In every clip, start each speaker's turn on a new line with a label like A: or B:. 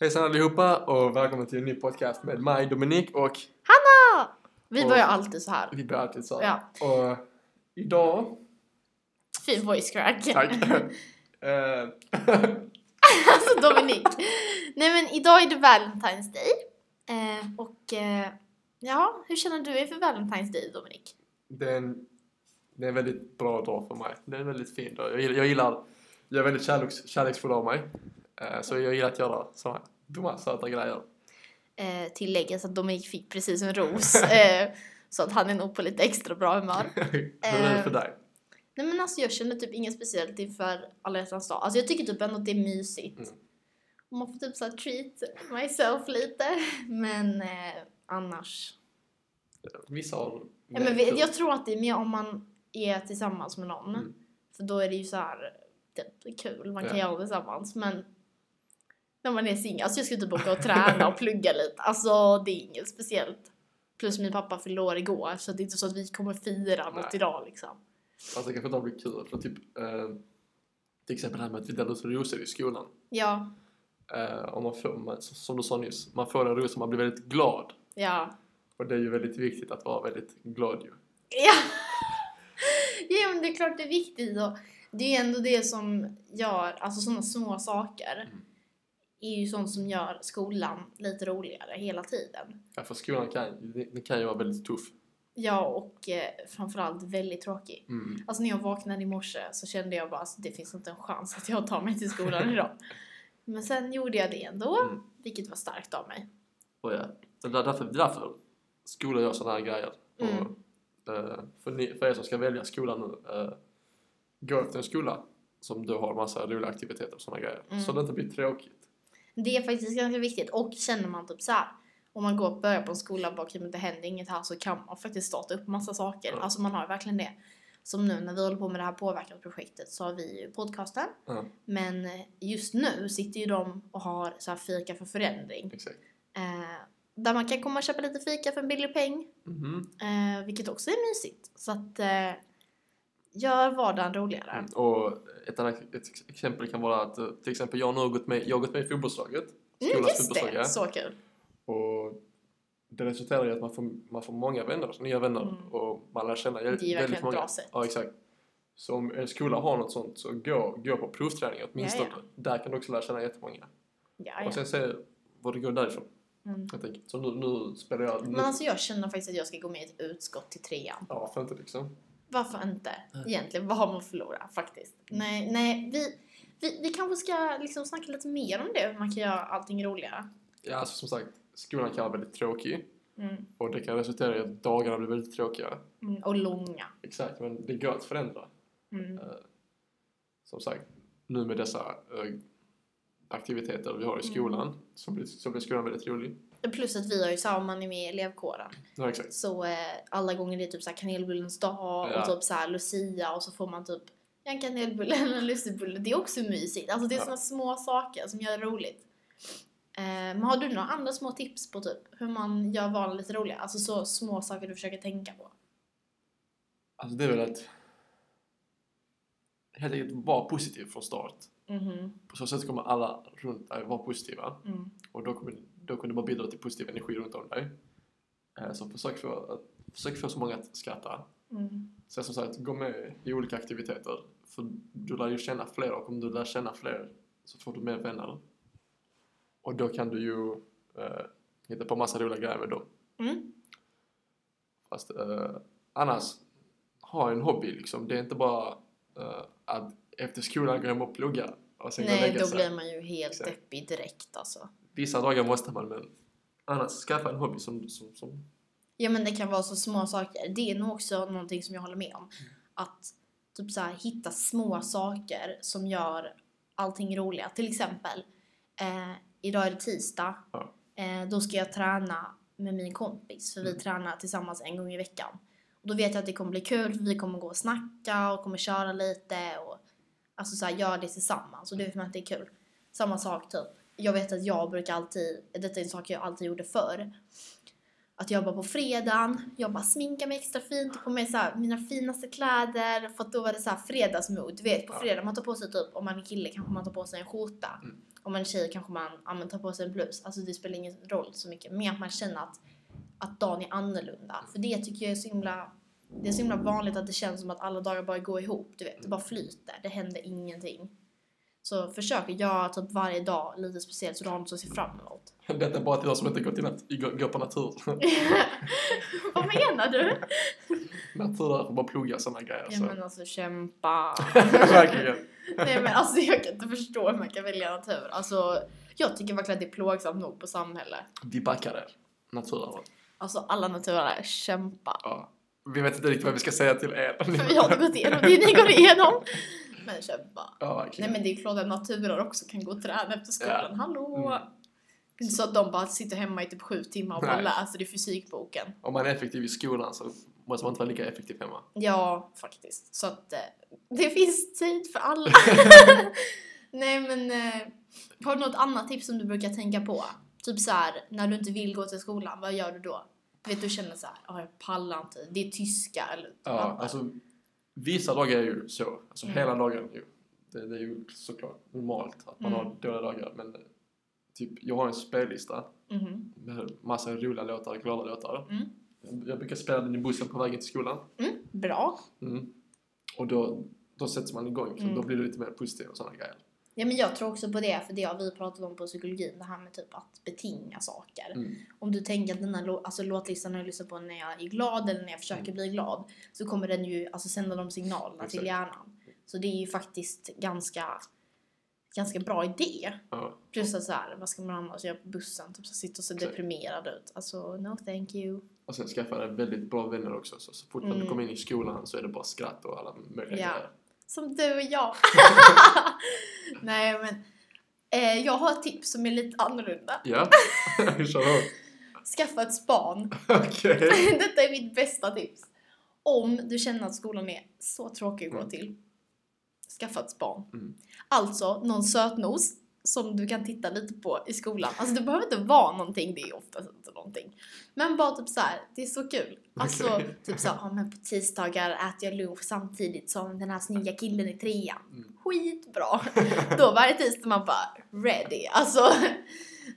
A: Hejsan allihopa och välkomna till en ny podcast med mig, Dominik och
B: Vi
A: Och-
B: börjar alltid så här.
A: vi blir alltid så. Och idag...
B: Fin voice crack.
A: Tack! Eh,
B: alltså Dominik. Nej men idag är det Valentine's Day. Eh, och eh, ja, hur känner du inför Valentine's Day Dominik?
A: det, är en, det är en väldigt bra dag för mig. Det är en väldigt fin dag. Jag gillar... Jag, gillar, jag är väldigt kärleks, kärleksfull av mig. Eh, så jag gillar att göra sådana dumma, söta grejer.
B: Eh, tilläggas att Dominik fick precis en ros. Eh, så att han är nog på lite extra bra humör.
A: Hur är det för dig?
B: Nej men alltså jag känner typ inget speciellt inför alla hjärtans dag. Alltså jag tycker typ ändå att det är mysigt.
A: Mm.
B: Och man får typ så här treat myself lite. Men eh, annars.
A: Vissa har...
B: Ja, men vi, jag tror att det är mer om man är tillsammans med någon.
A: Mm.
B: För då är det ju så här typ, kul, man kan
A: Ja.
B: göra det tillsammans. Men när man är singel, alltså jag skulle typ åka och träna och plugga lite. Alltså det är inget speciellt. Plus min pappa fyllde år igår så det är inte så att vi kommer fira något
A: Nej.
B: idag liksom.
A: Alltså det kanske inte blir kul. För typ... Eh, till exempel det här med att vi delar ut rosor i skolan.
B: Ja,
A: Eh, och man får, man, som du sa nyss, man får en ros och man blir väldigt glad.
B: ja.
A: Och det är ju väldigt viktigt att vara väldigt glad ju.
B: Ja. ja, men det är klart det är viktigt och det är ju ändå det som gör, alltså sådana små saker
A: Mm.
B: är ju sånt som gör skolan lite roligare hela tiden.
A: Ja, för skolan kan, den kan ju vara väldigt tuff.
B: Ja, och eh, framförallt väldigt tråkig.
A: Mm.
B: Alltså när jag vaknade i morse så kände jag bara alltså, det finns inte en chans att jag tar mig till skolan idag. Men sen gjorde jag det ändå,
A: Mm.
B: vilket var starkt av mig.
A: Och ja, det där, därför, det är därför skolan gör sådana här grejer.
B: Mm.
A: Och, eh, för, ni, för er som ska välja skola nu, eh, gå efter en skola som du har massa roliga aktiviteter och sådana grejer.
B: Mm.
A: Så det inte blir tråkigt.
B: Det är faktiskt ganska viktigt och känner man typ så här. Om man går och börjar på en skola och bara "Okej, men det händer inget här så kan man faktiskt starta upp massa saker.
A: Ja.
B: Alltså man har ju verkligen det. Som nu när vi håller på med det här påverkansprojektet så har vi ju podcasten.
A: Ja.
B: Men eh, just nu sitter ju de och har så här fika för förändring.
A: Exakt.
B: Eh, där man kan komma och köpa lite fika för en billig peng.
A: Mhm.
B: Eh, vilket också är mysigt. Så att eh, gör vardagen roligare.
A: Mm. Och ett annat ett ex- exempel kan vara att eh, till exempel jag har nu gått med, jag har gått med i fotbollslaget.
B: Mm,
A: Skolans
B: just
A: fotbollslag, ja.
B: det, så kul.
A: Och det resulterar i att man får, man får många vänner, nya vänner
B: Mm.
A: och man lär känna jä-
B: Det är ju verkligen
A: väldigt
B: ett
A: många.
B: bra sätt.
A: Ja, exakt. Så om en skola har något sånt så gå, gå på provträning åtminstone.
B: Ja,
A: Där kan du också lära känna jättemånga.
B: Ja, ja.
A: Och sen se vad det går därifrån.
B: Mm.
A: Jag tänker. Så nu, nu spelar jag... Nu,
B: Men alltså jag känner faktiskt att jag ska gå med i ett utskott till trean.
A: Ja, för inte liksom.
B: Varför inte?
A: Nej.
B: Egentligen, vad har man att förlora faktiskt?
A: Mm.
B: Nej, nej, vi, vi, vi kanske ska liksom snacka lite mer om det, hur man kan göra allting roligare.
A: Ja, alltså, som sagt, skolan kan vara väldigt tråkig
B: Mm.
A: och det kan resultera i att dagarna blir väldigt tråkiga.
B: Mm. Och långa.
A: Exakt, men det går att förändra.
B: Mm.
A: som sagt, nu med dessa eh, aktiviteter vi har i skolan så, blir, så blir skolan väldigt rolig.
B: Plus att vi har ju samma, man är med i elevkåren.
A: Ja, exakt.
B: Så eh, alla gånger det är typ så här kanelbullens dag
A: Ja.
B: och typ så här Lucia och så får man typ en kanelbulle eller en lussebulle. Det är också mysigt. Alltså det är
A: Ja.
B: såna små saker som gör det roligt. Eh, men har du några andra små tips på typ hur man gör vardagen lite roligare? Alltså så små saker du försöker tänka på.
A: Alltså det är väl att helt enkelt vara positiv från start.
B: Mhm.
A: På så sätt kommer alla runt dig vara positiva
B: Mm.
A: och då kommer, då kommer du bara bidra till positiv energi runt om dig. Eh, så försök få, att, försök få så många att skratta.
B: Mm.
A: Sen som sagt, gå med i olika aktiviteter för du lär ju känna fler och om du lär känna fler så får du mer vänner. Och då kan du ju eh, hitta på massa roliga grejer med dem.
B: Mm.
A: Fast eh, annars, ha en hobby liksom. Det är inte bara eh, att efter skolan gå hem och plugga och sen gå och
B: Nej,
A: lägga
B: då
A: sig.
B: blir man ju helt
A: Exakt.
B: deppig direkt alltså.
A: Vissa dagar måste man men annars skaffa en hobby som, som, som
B: Ja men det kan vara så små saker. Det är nog också någonting som jag håller med om.
A: Mm.
B: Att typ så här, hitta små saker som gör allting roliga. Till exempel, eh, idag är det tisdag.
A: Ja.
B: Eh, då ska jag träna med min kompis för vi
A: Mm.
B: tränar tillsammans en gång i veckan. Och då vet jag att det kommer bli kul för vi kommer gå och snacka och kommer köra lite och alltså så här, göra det tillsammans. Och det vet man att det är kul. Samma sak typ. Jag vet att jag brukar alltid, detta är en sak jag alltid gjorde förr. Att jobba på fredagen, jag bara sminkar mig extra fint och på mig så här, mina finaste kläder. För att då var det så här fredagsmod. Du vet på
A: Ja.
B: fredag man tar på sig typ, om man är kille kanske man tar på sig en skjorta.
A: Mm.
B: Om man är tjej kanske man, ja, men tar på sig en blus. Alltså det spelar ingen roll så mycket. Men att man känner att, att dagen är annorlunda.
A: Mm.
B: För det tycker jag är så himla, det är så himla vanligt att det känns som att alla dagar bara går ihop. Du vet, det bara flyter. Det händer ingenting. Så försök att göra typ varje dag lite speciellt så du har något att se fram emot.
A: Detta är bara till oss som inte går, till nat- går, går på natur.
B: Vad menar du?
A: natur är för att bara plugga sådana grejer.
B: Ja
A: så.
B: men alltså kämpa.
A: Verkligen.
B: Nej men alltså jag kan inte förstå hur man kan välja natur. Alltså jag tycker verkligen att det är plågsamt nog på samhället.
A: Vi backar där. Naturen.
B: Alltså alla naturare, kämpa.
A: Ja. Vi vet inte riktigt vad vi ska säga till er.
B: För vi har inte gått igenom det ni går igenom. Men kämpa.
A: Ja,
B: Nej
A: verkligen.
B: men det är klart att naturer också kan gå och träna efter skolan. Hallå!
A: Mm.
B: Det är inte så att de bara sitter hemma i typ sju timmar och bara
A: Nej.
B: läser i fysikboken.
A: Om man är effektiv i skolan så måste man inte vara lika effektiv hemma.
B: Ja, faktiskt. Så att eh,
A: Mm.
B: det finns tid för alla. Nej men, eh, har du något annat tips som du brukar tänka på? Typ så här, när du inte vill gå till skolan, vad gör du då? Du vet, du känner så här, "Ah, jag pallar inte, det är tyska eller
A: Ja, alltså vissa dagar är ju så. Alltså
B: Mm.
A: hela dagen. är Ju. Det, det är ju såklart normalt att man
B: Mm.
A: har dåliga dagar. Men eh, typ, jag har en spellista
B: Mhm.
A: med massa roliga låtar, glada låtar.
B: Mm.
A: Jag- Jag brukar spela den i bussen på vägen till skolan.
B: mm, Bra.
A: Mm. Och då, då sätts man igång. För
B: Mm.
A: Då blir det lite mer positiv och sådana grejer.
B: Ja men jag tror också på det, för det har vi pratat om på psykologin, det här med typ att betinga saker.
A: Mm.
B: Om du tänker att den här lå- alltså, låtlistan jag lyssnar på när jag är glad eller när jag försöker bli glad så kommer den ju alltså, sända de signalerna till
A: Mm. Exakt.
B: hjärnan. Så det är ju faktiskt ganska, ganska bra idé.
A: Ja.
B: Plus att så här, vad ska man annars göra på bussen? Typ så sitta och se
A: Exakt.
B: deprimerad ut. Alltså, no thank you.
A: Och sen skaffade jag väldigt bra vänner också. Så, så fort man
B: Mm.
A: kommer in i skolan så är det bara skratt och alla möjliga
B: Ja.
A: grejer.
B: Som du och jag. Nej men, eh, jag har ett tips som är lite annorlunda.
A: Ja, kör hårt.
B: Skaffa ett span.
A: Okej.
B: Detta är mitt bästa tips. Om du känner att skolan är så tråkig att gå
A: Mm.
B: till, skaffa ett span.
A: Mm.
B: Alltså någon sötnos som du kan titta lite på i skolan. Alltså det behöver inte vara någonting, det är oftast inte någonting. Men bara typ så här, det är så kul. Alltså
A: Okej.
B: typ så här, ja men på tisdagar äter jag lunch samtidigt som den här snygga killen i trean.
A: Mm.
B: Skitbra! Då varje tisdag man bara ready. Alltså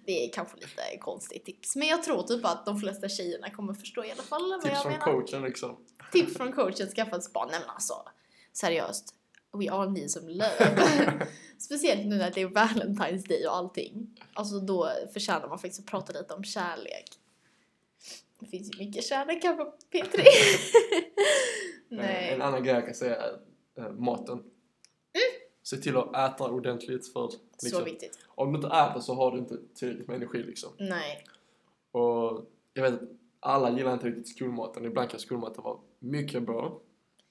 B: det är kanske lite konstigt tips. Men jag tror typ att de flesta tjejerna kommer förstå i alla fall vad
A: Tips
B: jag
A: från
B: menar.
A: coachen liksom.
B: Tips från coachen, skaffa ett spa. Nej men alltså, seriöst. We all need some love.
A: Eh,
B: Speciellt nu när det är Valentine's Day och allting. Alltså då förtjänar man faktiskt att prata lite om kärlek. Det finns ju mycket kärlek här på P3.
A: Eh, En
B: Nej. Mm.
A: annan grej jag kan säga är eh, maten. Se till att äta ordentligt för
B: Så
A: liksom,
B: viktigt.
A: om du inte äter så har du inte tillräckligt med energi liksom.
B: Nej.
A: Och jag vet att alla gillar inte riktigt skolmaten. Ibland kan skolmaten vara mycket bra.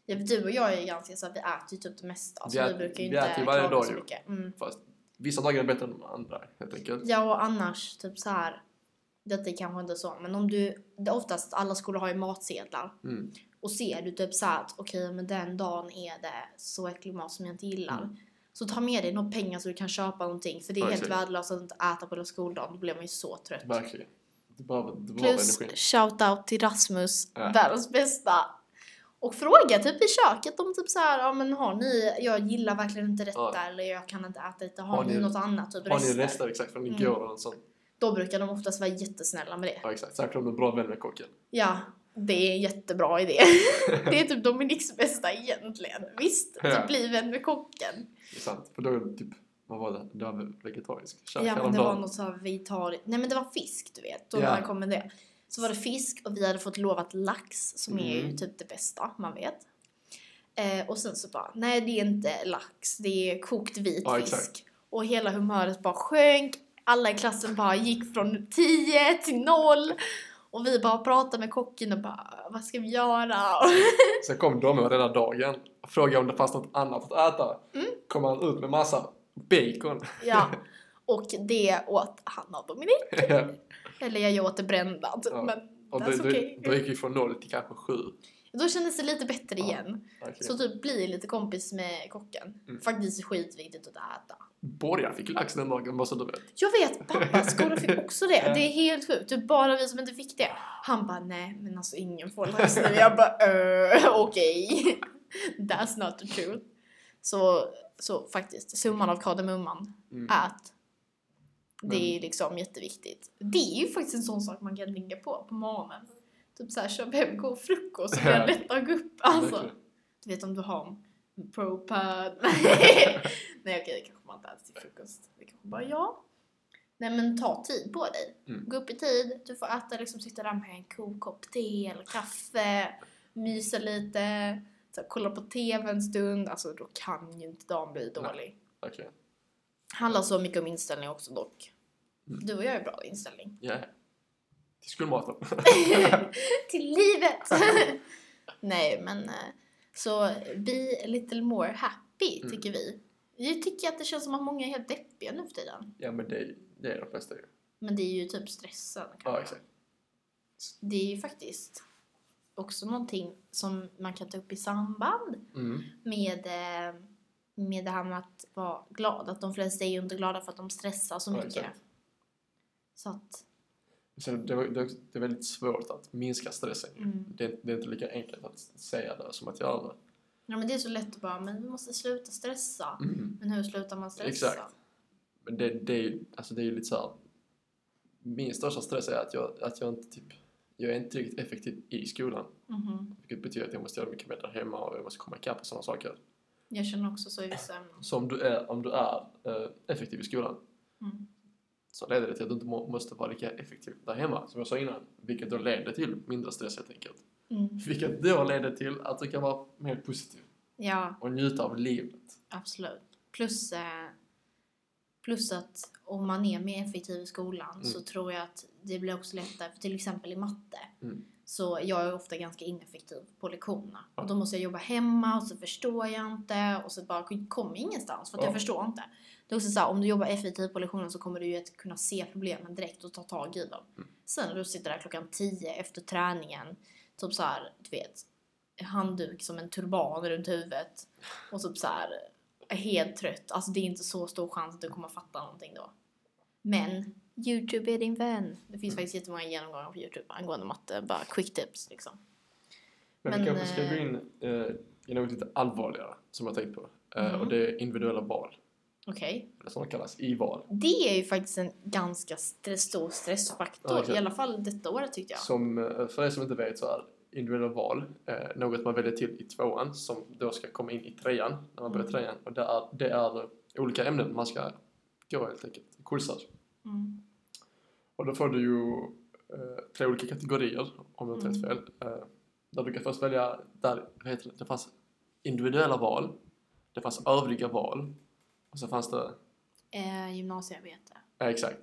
B: Ja, för du och jag är ju ganska så här, vi äter ju typ det mesta.
A: Vi
B: så vi
A: äter-
B: brukar ju
A: vi
B: inte
A: äter ju varje
B: klaga
A: dag
B: så
A: ju.
B: mycket. Mm.
A: Fast vissa dagar är bättre än de andra helt enkelt.
B: Ja och annars typ så här. Detta är kanske inte så men om du, det är oftast alla skolor har ju matsedlar.
A: Mm.
B: och ser du typ så här att okej men den dagen är det så äcklig mat som jag inte gillar.
A: Mm.
B: Så ta med dig några pengar så du kan köpa någonting för det är
A: Ja,
B: helt
A: exakt.
B: värdelöst att inte äta på hela skoldagen. Då blir man ju så trött.
A: Verkligen. Du behöver, du behöver
B: Typ. Plus
A: energi.
B: shoutout till Rasmus,
A: Ja.
B: världens bästa. Och fråga typ i köket om typ så här, ja men har ni, jag gillar verkligen inte detta
A: Ja.
B: eller jag kan inte äta detta, har,
A: Har
B: ni,
A: ni-
B: något annat?
A: Har
B: Typ
A: ni
B: rester?
A: rester exakt från
B: Mm.
A: igår eller något sånt?
B: Då brukar de oftast vara jättesnälla med det.
A: Ja exakt, särskilt om du är bra vän med kocken.
B: Ja, det är en jättebra idé. det är typ Dominiks bästa egentligen. Visst,
A: Ja.
B: typ bli vän med kocken.
A: Det är sant. För då är det typ, vad var det? Det var väl vegetariskt? Kök
B: Ja men det
A: häromdagen.
B: var något så här vegetariskt. Nej men det var fisk du vet. Då
A: Ja.
B: när han kom med det. Så var det fisk och vi hade fått lovat lax som är ju
A: Mm.
B: typ det bästa man vet. Eh, och sen så bara, nej det är inte lax, det är kokt vit
A: Ja,
B: fisk.
A: exakt.
B: Och hela humöret bara sjönk. Alla i klassen bara gick från 10 till 0. Och vi bara pratade med kocken och bara, vad ska vi göra?
A: Sen kom de och räddade dagen och frågade om det fanns något annat att äta.
B: Mm.
A: Kom han ut med massa bacon.
B: ja. Och det åt Hanna och Dominik. Eller jag åt det brända. typ,
A: Ja.
B: Men
A: och då,
B: that's
A: då,
B: okay.
A: då gick vi från noll till kanske sju.
B: Då kändes det lite bättre
A: Ja.
B: igen.
A: verkligen.
B: Så typ bli lite kompis med kocken.
A: Mm.
B: Faktiskt skitviktigt att äta.
A: Borja fick lax den dagen, bara så du vet.
B: Jag vet, pappas skola fick också det. Det är helt sjukt. Det är bara vi som inte fick det. Han bara, nej men alltså ingen får lax nu. Jag bara, öh, okej. That's not the truth. Så, så faktiskt, summan av kardemumman,
A: Mm.
B: ät.
A: Men-
B: Det är liksom jätteviktigt. Det är ju faktiskt en sån sak man kan tänka på på morgonen. Typ såhär, köp hem god frukost så kan
A: Ja.
B: det lätt att gå upp. Alltså,
A: Verkligen.
B: du vet om du har en propad. Nej okej, det kanske man inte äter till frukost. Det kanske bara jag. Nej men ta tid på dig.
A: Mm.
B: Gå upp i tid, du får äta liksom, sitta där med en kokopp te eller kaffe, mysa lite, så här, kolla på TV en stund. Alltså då kan ju inte dagen bli dålig.
A: Verkligen.
B: Handlar så mycket om inställning också dock.
A: Mm.
B: Du och jag är bra i inställning.
A: Ja. Till skolmaten.
B: Till livet! Nej men eh, så be a little more happy
A: Mm.
B: tycker vi. Jag tycker att det känns som att många är helt deppiga nu för tiden.
A: ja, men det, det är de flesta ju.
B: Men det är ju typ stressen. kanske.
A: Ja, exakt.
B: Det är ju faktiskt också någonting som man kan ta upp i samband
A: Mm.
B: med, eh, med det här med att vara glad. Att de flesta är ju inte glada för att de stressar så
A: Ja,
B: mycket.
A: exakt.
B: Så att,
A: Så det, var- det, det är väldigt svårt att minska stressen. ju.
B: Mm.
A: Det, är- det är inte lika enkelt att säga det som att göra det.
B: ja men det är så lätt att bara, men vi måste sluta stressa.
A: Mm.
B: Men hur slutar man stressa?
A: Exakt. Men det, det, är ju- alltså det är ju lite så här. Min största stress är att jag, att jag inte typ, jag är inte riktigt effektiv i skolan.
B: Mhm.
A: Vilket betyder att jag måste göra mycket mer där hemma och jag måste komma ikapp och sådana saker.
B: Jag känner också så i vissa ämnen.
A: Så om du är, om du är eh, effektiv i skolan
B: Mm.
A: så leder det till att du inte må, måste vara lika effektiv där hemma som jag sa innan. Vilket då leder till mindre stress helt enkelt.
B: Mm.
A: Vilket då leder till att du kan vara mer positiv
B: Ja,
A: och njuta av livet.
B: absolut. Plus, eh, plus att om man är mer effektiv i skolan så
A: Mm.
B: tror jag att det blir också lättare. För till exempel i matte
A: Mm.
B: så jag är ofta ganska ineffektiv på lektionerna.
A: Ja.
B: Och då måste jag jobba hemma och så förstår jag inte och så bara kommer jag ingenstans för att jag
A: Ja.
B: förstår inte. Det är också så här, om du jobbar effektivt på lektionen så kommer du ju att kunna se problemen direkt och ta tag i dem.
A: Mm.
B: Sen när du sitter där klockan 10 efter träningen, typ så här, du vet, handduk som en turban runt huvudet och typ så här är helt trött. Alltså det är inte så stor chans att du kommer fatta någonting då. Men Youtube är din vän. Det finns
A: Mm.
B: faktiskt jättemånga genomgångar på Youtube angående matte. Bara quick tips liksom.
A: Men,
B: Men,
A: vi kanske ska
B: eh,
A: gå in eh, i något lite allvarligare som jag tänkt på. Eh,
B: Mhm.
A: Och det är individuella val.
B: Okej.
A: Eller som de kallas, i-val.
B: Det är ju faktiskt en ganska stress, stor
A: Ja,
B: stressfaktor.
A: exakt.
B: I alla fall detta året tyckte jag.
A: Som, eh, för er som inte vet så är individuella val eh, något man väljer till i tvåan som då ska komma in i trean när man börjar
B: Mm.
A: trean. Och det är, det är olika ämnen man ska gå helt enkelt, kursar.
B: Mm.
A: Och då får du ju eh, tre olika kategorier, om jag inte har helt
B: Mm.
A: fel. Eh, där du kan först välja, där, vad heter det, det fanns individuella val, det fanns övriga val och så fanns det
B: Eh, gymnasiearbete.
A: Ja, exakt.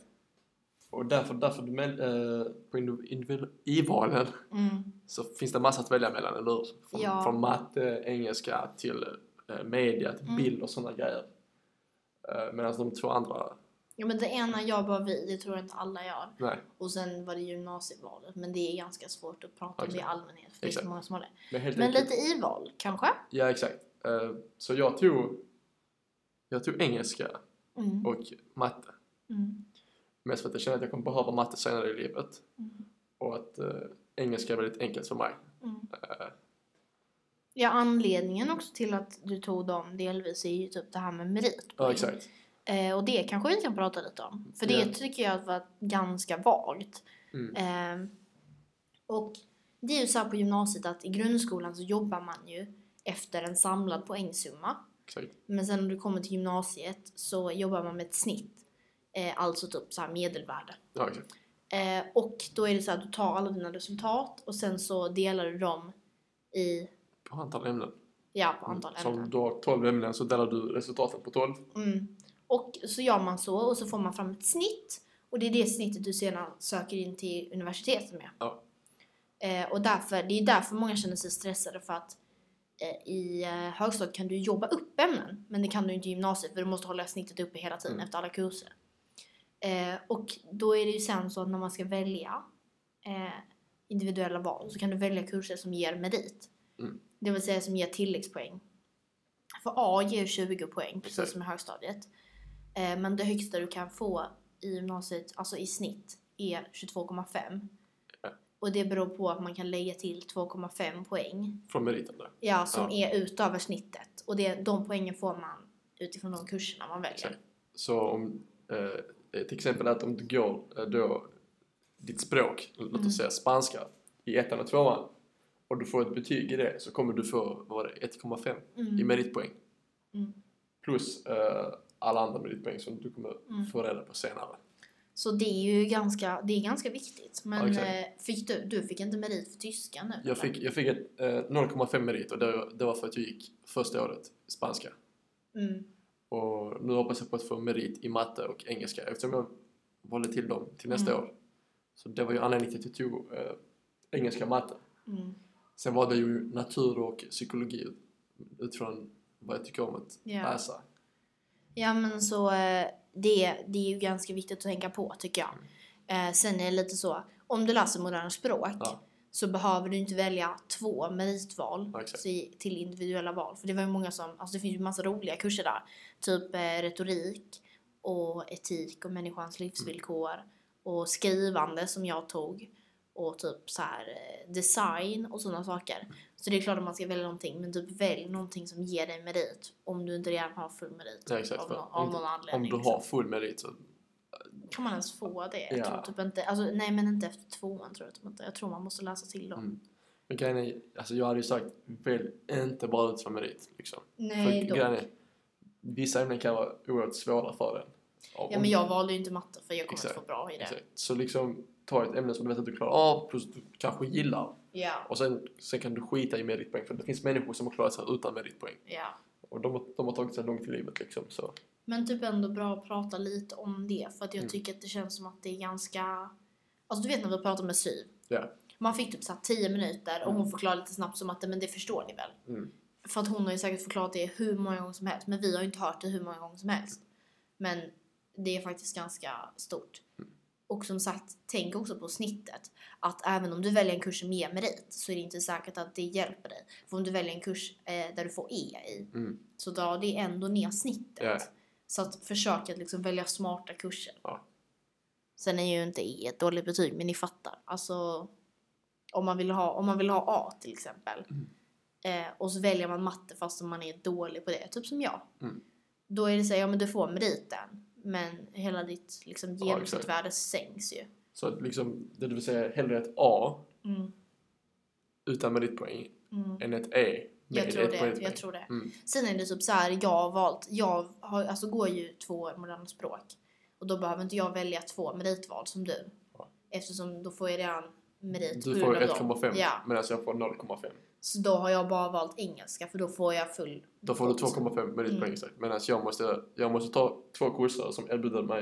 A: Och därför, därför du men, eh, på indiv- individu- i valen
B: Mm.
A: så finns det massa att välja mellan, eller hur? Från,
B: Ja.
A: från matte, engelska till eh, media, till
B: Mm.
A: bild och sådana grejer. Eh, Medan de två andra,
B: Ja men det ena jag bara vi, det tror jag inte alla gör.
A: nej.
B: Och sen var det gymnasievalet. Men det är ganska svårt att prata om det i
A: Exakt.
B: allmänhet. För det är så
A: Exakt.
B: många som har det.
A: Men, helt
B: Men
A: enkelt-
B: lite i val kanske?
A: Ja, exakt. Eh, så jag tog, jag tog engelska
B: Mm.
A: och matte.
B: Mm.
A: Mest för att jag känner att jag kommer behöva matte senare i livet.
B: Mm.
A: Och att eh, engelska är väldigt enkelt för mig.
B: Mm. Ja, anledningen också till att du tog dem delvis är ju typ det här med merit.
A: Ja, exakt.
B: Eh, och det kanske vi kan prata lite om. För det
A: Ja.
B: tycker jag var ganska vagt.
A: Mm.
B: Eh, och det är ju så här på gymnasiet att i grundskolan så jobbar man ju efter en samlad poängsumma.
A: exakt.
B: Men sen när du kommer till gymnasiet så jobbar man med ett snitt. Eh, alltså typ så här medelvärde.
A: Ja, exakt.
B: Eh, och då är det så att du tar alla dina resultat och sen så delar du dem i,
A: På antal ämnen.
B: ja på antal
A: Så
B: ämnen.
A: om du har 12 ämnen så delar du resultaten på 12.
B: Mm. Och så gör man så och så får man fram ett snitt. Och det är det snittet du sedan söker in till universitetet med.
A: Ja.
B: Eh, och därför, det är därför många känner sig stressade för att eh, i eh, högstadiet kan du jobba upp ämnen. Men det kan du inte i gymnasiet för du måste hålla snittet uppe hela tiden
A: Mm.
B: efter alla kurser. Eh, och då är det ju sen så att när man ska välja eh, individuella val så kan du välja kurser som ger merit.
A: Mm.
B: Det vill säga som ger tilläggspoäng. För A ger 20 poäng, precis
A: Exakt.
B: som i högstadiet. Eh, men det högsta du kan få i gymnasiet, alltså i snitt, är 22,5.
A: Ja.
B: Och det beror på att man kan lägga till 2,5 poäng.
A: Från meriten där.
B: Ja, som är utöver snittet. Och det, de poängen får man utifrån de kurserna man väljer.
A: Exakt. Alltså, Så om eh, till exempel att om du går eh, då ditt språk, låt
B: Mm.
A: oss säga spanska, i ettan och tvåan och du får ett betyg i det så kommer du få vad var det, 1,5 i
B: Mm.
A: meritpoäng.
B: Mm.
A: Plus eh, alla andra meritpoäng som du kommer
B: Mm.
A: få reda på senare.
B: Så det är ju ganska, det är ganska viktigt. Men
A: exakt.
B: eh, fick du, du fick inte merit för tyska nu? eller?
A: Jag fick, jag fick ett, eh, 0,5 merit och det, det var för att jag gick första året spanska.
B: Mm.
A: Och nu hoppas jag på att få merit i matte och engelska eftersom jag valde till dem till nästa
B: Mm.
A: år. Så det var ju anledningen till att jag tog eh, engelska och matte.
B: Mm.
A: Sen var det ju natur och psykologi utifrån vad jag tycker om att
B: Ja.
A: läsa.
B: Ja men så eh, det, det är ju ganska viktigt att tänka på tycker jag. Eh, sen är det lite så, om du läser moderna språk
A: Ja.
B: så behöver du inte välja två meritval
A: Ja, exakt.
B: till, till individuella val. För det var ju många som, alltså det finns ju massa roliga kurser där. Typ eh, retorik och etik och människans livsvillkor och skrivande som jag tog och typ så här eh, design och sådana saker. Så det är klart att man ska välja någonting men typ välj någonting som ger dig merit om du inte redan har full merit
A: Ja, exakt.
B: av,
A: För
B: någon,
A: om
B: av någon
A: Om
B: anledning.
A: du har full merit så...
B: liksom. Kan man ens få det? Jag
A: Ja.
B: tror typ inte, alltså, nej men inte efter tvåan tror jag typ inte. Jag tror man måste läsa till dem.
A: Mm. Men grejen är, alltså jag hade ju sagt välj inte bara utifrån merit. Liksom.
B: Nej
A: för
B: dock.
A: grejen är, vissa ämnen kan vara oerhört svåra för en. Om-
B: Ja men jag valde ju inte matte för jag kommer
A: Exakt.
B: inte få bra i det.
A: Exakt. Så liksom ta ett ämne som du vet att du klarar av plus du kanske gillar.
B: Ja.
A: Och sen, sen kan du skita i meritpoäng för det finns människor som har klarat sig utan meritpoäng.
B: ja.
A: Och de, har- de har tagit sig långt i livet liksom. Så.
B: Men typ ändå bra att prata lite om det för att jag
A: Mm.
B: tycker att det känns som att det är ganska... Alltså du vet när vi pratar med Siv.
A: Ja.
B: Man fick typ såhär 10 minuter och
A: Mm.
B: hon förklarade lite snabbt som att men det förstår ni väl?
A: Mm.
B: För att hon har ju säkert förklarat det hur många gånger som helst men vi har ju inte hört det hur många gånger som helst. Men det är faktiskt ganska stort.
A: Mm.
B: Och som sagt, tänk också på snittet. Att även om du väljer en kurs som ger merit så är det inte säkert att det hjälper dig. För om du väljer en kurs eh, där du får E i
A: Mm.
B: så drar det ändå ner snittet.
A: Ja.
B: Så att försök att liksom välja smarta kurser.
A: Ja.
B: Sen är ju inte E ett dåligt betyg, men ni fattar. Alltså, om man vill ha, om man vill ha A till exempel
A: Mm.
B: eh, och så väljer man matte fast man är dålig på det, typ som jag.
A: Mm.
B: Då är det så här, ja men du får meriten. Men hela ditt liksom,
A: Ja,
B: genomsnittsvärde sänks ju.
A: Så att liksom, det vill säga hellre ett A
B: Mm.
A: utan meritpoäng
B: Mm.
A: än ett E med
B: Jag tror
A: ett
B: det.
A: meritpoäng.
B: Jag tror det.
A: Mm.
B: Sen är det typ så här, jag har valt, jag har, alltså går ju två moderna språk och då behöver inte jag välja två meritval som du.
A: Ja.
B: Eftersom då får jag redan merit på
A: Du får
B: grund av dem.
A: 1,5
B: Ja,
A: medan jag får 0,5.
B: så då har jag bara valt engelska för då får jag full
A: Då får du
B: pott.
A: 2,5 meritpoäng
B: Mm.
A: exakt. Medan jag måste, jag måste ta två kurser som erbjuder mig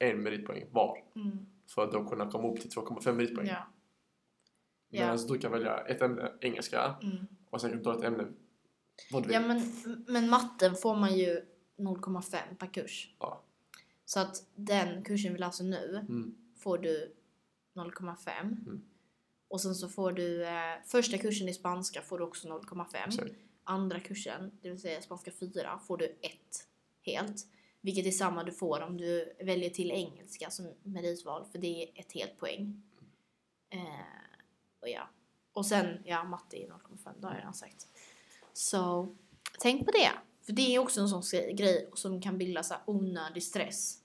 A: eh, en meritpoäng var
B: Mm.
A: för att då kunna komma upp till 2,5 meritpoäng.
B: Ja.
A: Medan
B: Ja.
A: du kan välja ett ämne engelska
B: Mm.
A: och sen kan du ta ett ämne vad du vill.
B: ja men, men matten får man ju 0,5 per kurs.
A: Ja.
B: Så att den kursen vi läser nu
A: Mm.
B: får du 0,5.
A: Mm.
B: Och sen så får du eh, första kursen i spanska får du också 0,5.
A: Exakt.
B: Andra kursen, det vill säga spanska 4, får du 1 helt. Vilket är samma du får om du väljer till engelska som meritval för det är ett helt poäng. Eh, och ja. Och sen, ja matte är 0,5, det har jag redan sagt. Så tänk på det. För det är också en sån grej- grej som kan bilda så här onödig stress.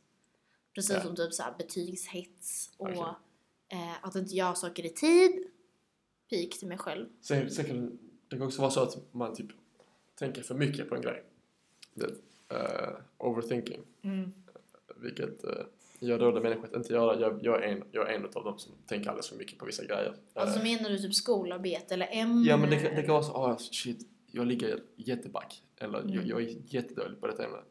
B: Precis
A: Ja.
B: som typ så här betygshets och
A: Verkligen.
B: eh, att inte göra saker i tid. Pik till mig själv.
A: Sen, sen kan det kan också vara så att man typ tänker för mycket på en grej. Det, eh, overthinking. Vilket eh, jag råder människor att inte göra. Jag, jag, är en, jag är en av dem som tänker alldeles för mycket på vissa grejer.
B: Alltså
A: Eh,
B: menar du typ skolarbete eller ämnen?
A: ja men det, kan- det kan vara så, ah shit, jag ligger jätteback. Eller
B: Mm.
A: jag, jag är jättedålig på detta ämnet.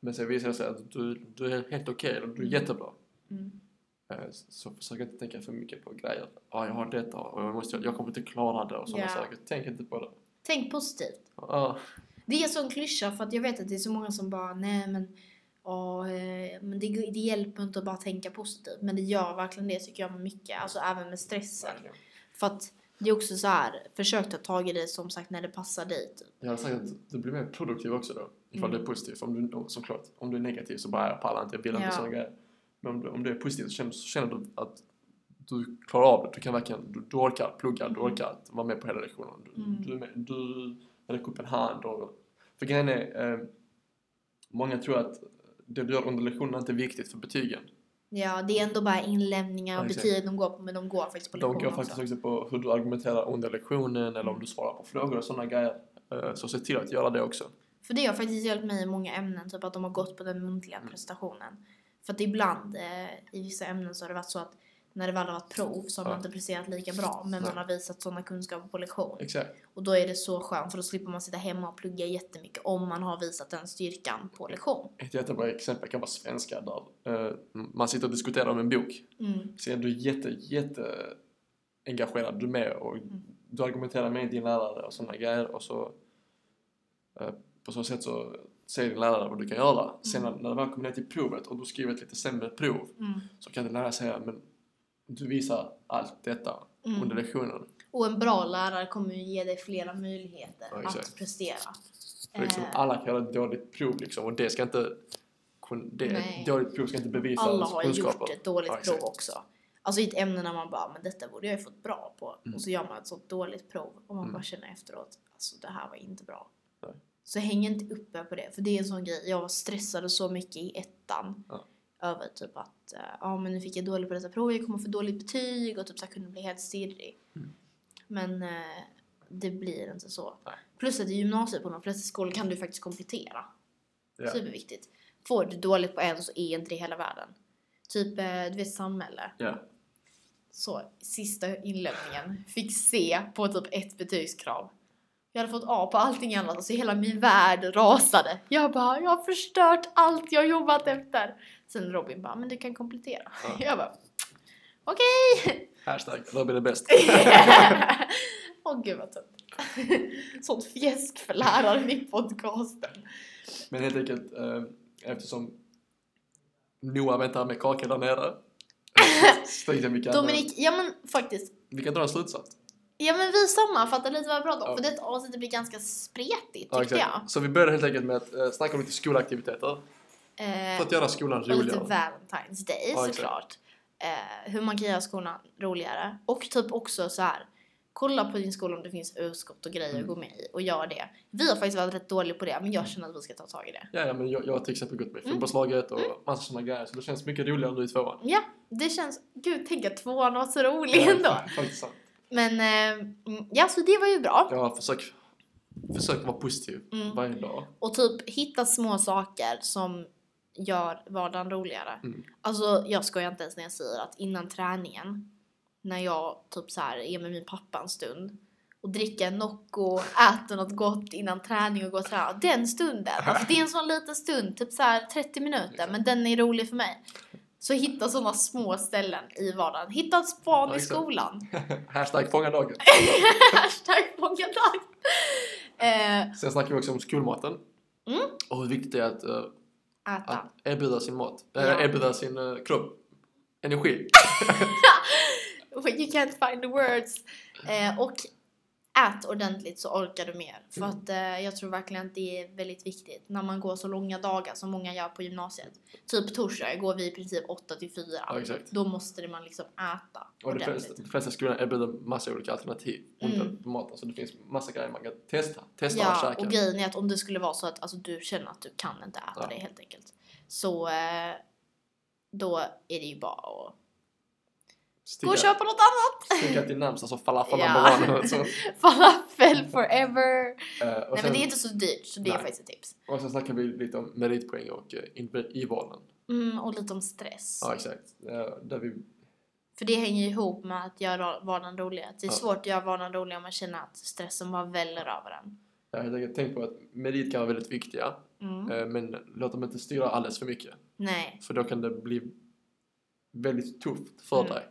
A: Men sen visar det sig att du, du är helt okej, eller du är
B: Mm.
A: jättebra.
B: Mm.
A: Eh, Så försök inte tänka för mycket på grejer. Ja, jag har detta och jag, måste, jag kommer inte klara det och sådana
B: Ja.
A: saker. Tänk inte på det. Ah.
B: Tänk positivt.
A: Ja,
B: Det är en sån klyscha för att jag vet att det är så många som bara nej men, ja, eh, men det, det hjälper inte att bara tänka positivt. Men det gör verkligen det tycker jag med mycket, alltså även med stressen.
A: verkligen.
B: För att Det är också så här, försök ta tag i det som sagt när det passar dig. Typ.
A: Jag hade sagt att du blir mer produktiv också då. Ifall
B: Mm.
A: det är positivt. Om du, såklart, om du är negativ så bara jag pallar inte, jag vill inte
B: Ja.
A: sådana grejer. Men om, du- om det är positivt så känner, så känner du att du klarar av det. Du kan verkligen, du, du orkar plugga, du
B: Mm.
A: orkar att vara med på hela lektionen. Du,
B: Mm.
A: du, är med, du räcker upp en hand. Och, för grejen är, eh, många tror att det du gör under lektionerna inte är viktigt för betygen.
B: Ja, det är ändå bara inlämningar och
A: Ja, exakt.
B: betyg de går på, men de går faktiskt på
A: De går
B: lektion
A: faktiskt
B: också.
A: också på hur du argumenterar under lektionen eller om du svarar på frågor och sådana grejer. Eh, Så se till att göra det också.
B: För det har faktiskt hjälpt mig i många ämnen, typ att de har gått på den muntliga
A: Mm.
B: prestationen. För att ibland eh, i vissa ämnen så har det varit så att när det väl har varit prov så har man
A: Ja.
B: inte presterat lika bra, men man
A: Nej.
B: har visat sådana kunskaper på lektion.
A: Exakt.
B: Och då är det så skönt för då slipper man sitta hemma och plugga jättemycket om man har visat den styrkan på lektion.
A: Ett jättebra exempel kan vara svenska där eh, man sitter och diskuterar om en bok.
B: Mm.
A: Sen är du jätte, jätte engagerad, du är med och
B: Mm.
A: du argumenterar med din lärare och sådana grejer och så eh, på så sätt så säger din lärare vad du kan göra. Sen när, när du väl kommer ner till provet och du skriver ett lite sämre prov
B: Mm.
A: så kan din lärare säga men du visar allt detta
B: Mm.
A: under lektionen.
B: Och en bra lärare kommer ju ge dig flera möjligheter
A: Ja,
B: att
A: exakt.
B: prestera.
A: För liksom,
B: Eh,
A: alla kan göra ett dåligt prov liksom och det ska inte kun- det,
B: Nej.
A: ett dåligt prov ska inte bevisa
B: alla
A: ens
B: har ju
A: kunskaper.
B: gjort ett dåligt
A: Ja,
B: prov
A: exakt.
B: också. Alltså i ett ämne när man bara, men detta borde jag ju fått bra på.
A: Mm.
B: Och så gör man ett sånt dåligt prov och man
A: Mm.
B: bara känner efteråt, alltså det här var inte bra.
A: Nej.
B: Så häng inte upp er på det, för det är en sån grej. Jag var stressad så mycket i ettan.
A: Ja.
B: Över typ att, eh, ja men nu fick jag dåligt på detta prov, jag kommer få dåligt betyg och typ så här kunde bli helt stirrig.
A: Mm.
B: Men eh, det blir inte så.
A: Nej.
B: Plus att i gymnasiet på de flesta skolor kan du faktiskt komplettera.
A: Ja.
B: Superviktigt. Får du dåligt på en så är inte det hela världen. Typ, eh, du vet samhälle.
A: Ja.
B: Så, sista inlämningen. Fick C på typ ett betygskrav. Jag hade fått A på allting annat, alltså hela min värld rasade. Jag bara, jag har förstört allt jag jobbat efter. Sen Robin bara, men du kan komplettera.
A: Ja.
B: Jag bara,
A: Hashtag Robin är bäst.
B: åh gud vad tungt. Sånt fjäsk för läraren i podcasten.
A: Men helt enkelt eh, eftersom Noah väntar med kakor där nere. så tänkte jag vi kan, eh,
B: Dominik, ja men faktiskt,
A: vi kan dra en slutsats.
B: Ja men vi sammanfattar lite vad vi pratade om,
A: Ja.
B: för detta avsnittet blir ganska spretigt
A: Ja,
B: tyckte
A: exakt. Så vi börjar helt enkelt med att eh, snacka om lite skolaktiviteter.
B: jag.
A: För
B: Eh,
A: att göra skolan
B: och lite
A: roligare.
B: Valentine's Day
A: Ja, exakt.
B: såklart. Eh, hur man kan göra skolan roligare. Och typ också så här. kolla på din skola om det finns överskott och grejer
A: Mm.
B: att gå med i och gör det. Vi har faktiskt varit rätt dåliga på det, men jag känner att vi ska ta tag i det.
A: Ja, ja, men jag, jag har till exempel gått med i
B: Mm.
A: fotbollslaget och massa sådana grejer. Så det känns mycket roligare nu i tvåan.
B: Ja, det känns... Gud, tänk att tvåan var så rolig ändå.
A: Ja, faktiskt sant.
B: Men eh, mm, ja, så det var ju bra.
A: Jag har försökt, försökt vara positiv
B: Mm.
A: varje dag.
B: Och typ hitta små saker som gör vardagen roligare.
A: Mm.
B: Alltså jag skojar inte ens när jag säger att innan träningen, när jag typ så här är med min pappa en stund och dricker en Nocco, äter något gott innan träning och går och tränar. Den stunden, alltså det är en sån liten stund, typ så här 30 minuter,
A: Exakt.
B: men den är rolig för mig. Så hitta såna små ställen i vardagen. Hitta ett span
A: Ja,
B: i
A: exakt.
B: skolan.
A: Hashtag fånga dagen.
B: Hashtag många dagar. Eh,
A: Sen snackar vi också om skolmaten.
B: Mm.
A: Och hur viktigt det är att, eh,
B: äta.
A: att erbjuda sin mat. eh,
B: Ja.
A: Erbjuda sin eh, kropp. Energi.
B: When you can't find the words. Eh, och ät ordentligt så orkar du mer. För
A: Mm.
B: att eh, jag tror verkligen att det är väldigt viktigt när man går så långa dagar som många gör på gymnasiet. Typ torsdag går vi i princip 8 till 4.
A: Ja, exakt.
B: Då måste man liksom äta
A: Och de
B: ordentligt.
A: flesta, de flesta skolorna erbjuder massa olika alternativ under
B: Mm.
A: maten. Så det finns massa grejer man kan testa. Testa och
B: Ja,
A: käka.
B: och grejen är att om det skulle vara så att alltså, du känner att du kan inte äta
A: Ja.
B: det helt enkelt. Så eh, då är det ju bara att gå
A: Sticka,
B: och köpa något annat.
A: sticka till närmsta så falafel
B: Ja.
A: ja. och så.
B: Falafel forever.
A: Eh, och,
B: Nej
A: sen,
B: men det är inte så dyrt så det är
A: Nej.
B: faktiskt ett tips.
A: och sen snackar vi lite om meritpoäng och eh, in- i valen.
B: Mm, och lite om stress.
A: Ja, exakt. Eh, där vi,
B: För det hänger ju ihop med att göra vardagen roligare. Det är
A: Ja.
B: svårt att göra vardagen rolig om man känner att stressen bara väller över en.
A: jag har helt enkelt tänkt på att merit kan vara väldigt viktiga.
B: Mm.
A: eh, men låt dem inte styra alldeles för mycket.
B: Nej.
A: För då kan det bli väldigt tufft för
B: Mm.
A: dig.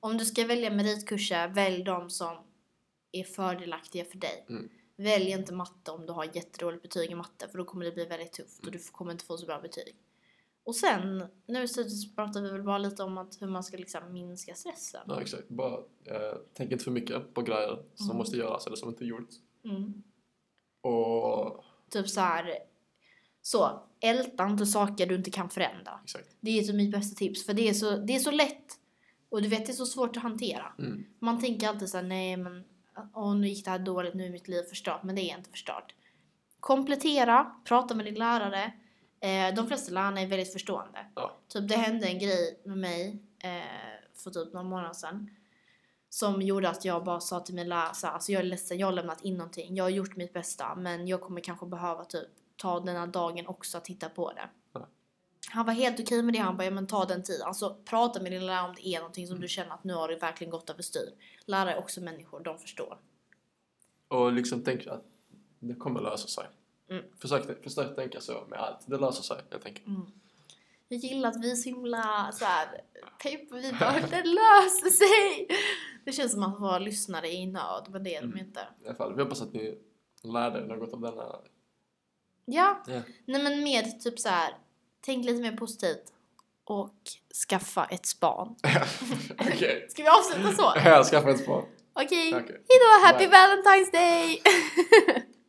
B: Om du ska välja meritkurser, välj de som är fördelaktiga för dig.
A: Mm.
B: Välj inte
A: Mm.
B: matte om du har jättedåligt betyg i matte för då kommer det bli väldigt tufft och du kommer inte få så bra betyg. Och sen, nu i slutet så pratar vi väl bara lite om att hur man ska liksom minska stressen.
A: Ja, exakt. Bara, eh, tänk inte för mycket på grejer som
B: Mm.
A: måste göras eller som inte är gjort.
B: Mm.
A: Och
B: Typ så här. så älta inte saker du inte kan förändra.
A: exakt.
B: Det är typ mitt bästa tips, för det är så, det är så lätt och du vet det är så svårt att hantera.
A: Mm.
B: Man tänker alltid så här, nej men åh, nu gick det här dåligt, nu är mitt liv förstört, men det är inte förstört. Komplettera, prata med din lärare. Eh, de flesta lärarna är väldigt förstående.
A: Ja.
B: Typ det hände en grej med mig eh, för typ någon månad sedan som gjorde att jag bara sa till min lärare så här, alltså jag är ledsen, jag har lämnat in någonting, jag har gjort mitt bästa men jag kommer kanske behöva typ ta den här dagen också att titta på det.
A: Ja.
B: Han var helt okej med det, han bara ja men ta den tiden, alltså prata med din lärare om det är någonting som
A: Mm.
B: du känner att nu har det verkligen gått överstyr. Lärare är också människor, de förstår.
A: Och liksom tänk att det kommer lösa sig.
B: Mm.
A: Försök, försök tänka så med allt. Det löser sig helt enkelt.
B: Jag gillar att vi är så himla såhär pepp, vi bara det löser sig! Det känns som att våra lyssnare är i nöd, men det är de
A: Mm.
B: inte.
A: I alla fall, vi hoppas att ni lärde er något av denna.
B: Ja,
A: Ja.
B: nej men med typ så här. tänk lite mer positivt och skaffa ett barn.
A: Okej.
B: Ska vi avsluta så?
A: Okay. Skaffa ett spår.
B: Okej,
A: Okej.
B: hejdå, happy
A: Bye.
B: Valentine's Day!